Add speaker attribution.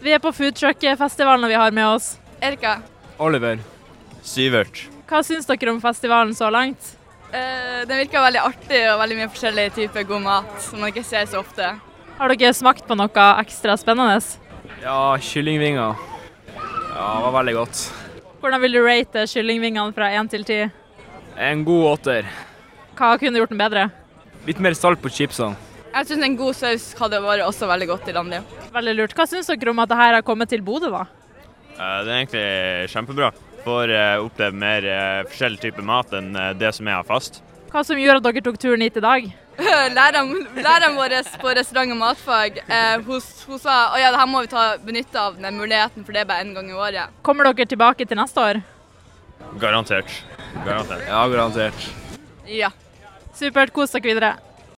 Speaker 1: Vi er på foodtruck-festivalen, og vi har med oss
Speaker 2: Erika.
Speaker 3: Oliver. Sivert.
Speaker 1: Hva syns dere om festivalen så langt?
Speaker 2: Eh, den virker veldig artig og veldig mye forskjellig type god mat som man ikke ser så ofte.
Speaker 1: Har dere smakt på noe ekstra spennende?
Speaker 3: Ja, kyllingvinger. Ja, det var veldig godt.
Speaker 1: Hvordan vil du rate kyllingvingene fra 1 til 10?
Speaker 3: En god åtter.
Speaker 1: Hva kunne gjort den bedre?
Speaker 3: Litt mer salt på chipsene.
Speaker 2: Jeg syns en god saus hadde vært også veldig godt i Landio.
Speaker 1: Veldig lurt. Hva syns dere om at dette har kommet til Bodø, da?
Speaker 4: Eh, Det er egentlig kjempebra. Får eh, oppleve mer eh, forskjellig type mat enn eh, det som jeg har fast.
Speaker 1: Hva som gjorde at dere tok turen hit i dag?
Speaker 2: Læreren, læreren vår på restaurant- og matfag eh, hun, hun sa at ja, det her må vi ta benytte av den muligheten, for det er bare én gang i året.
Speaker 1: Kommer dere tilbake til neste år?
Speaker 4: Garantert. Garantert.
Speaker 3: Ja, garantert.
Speaker 2: Ja.
Speaker 1: Supert. Kos dere videre.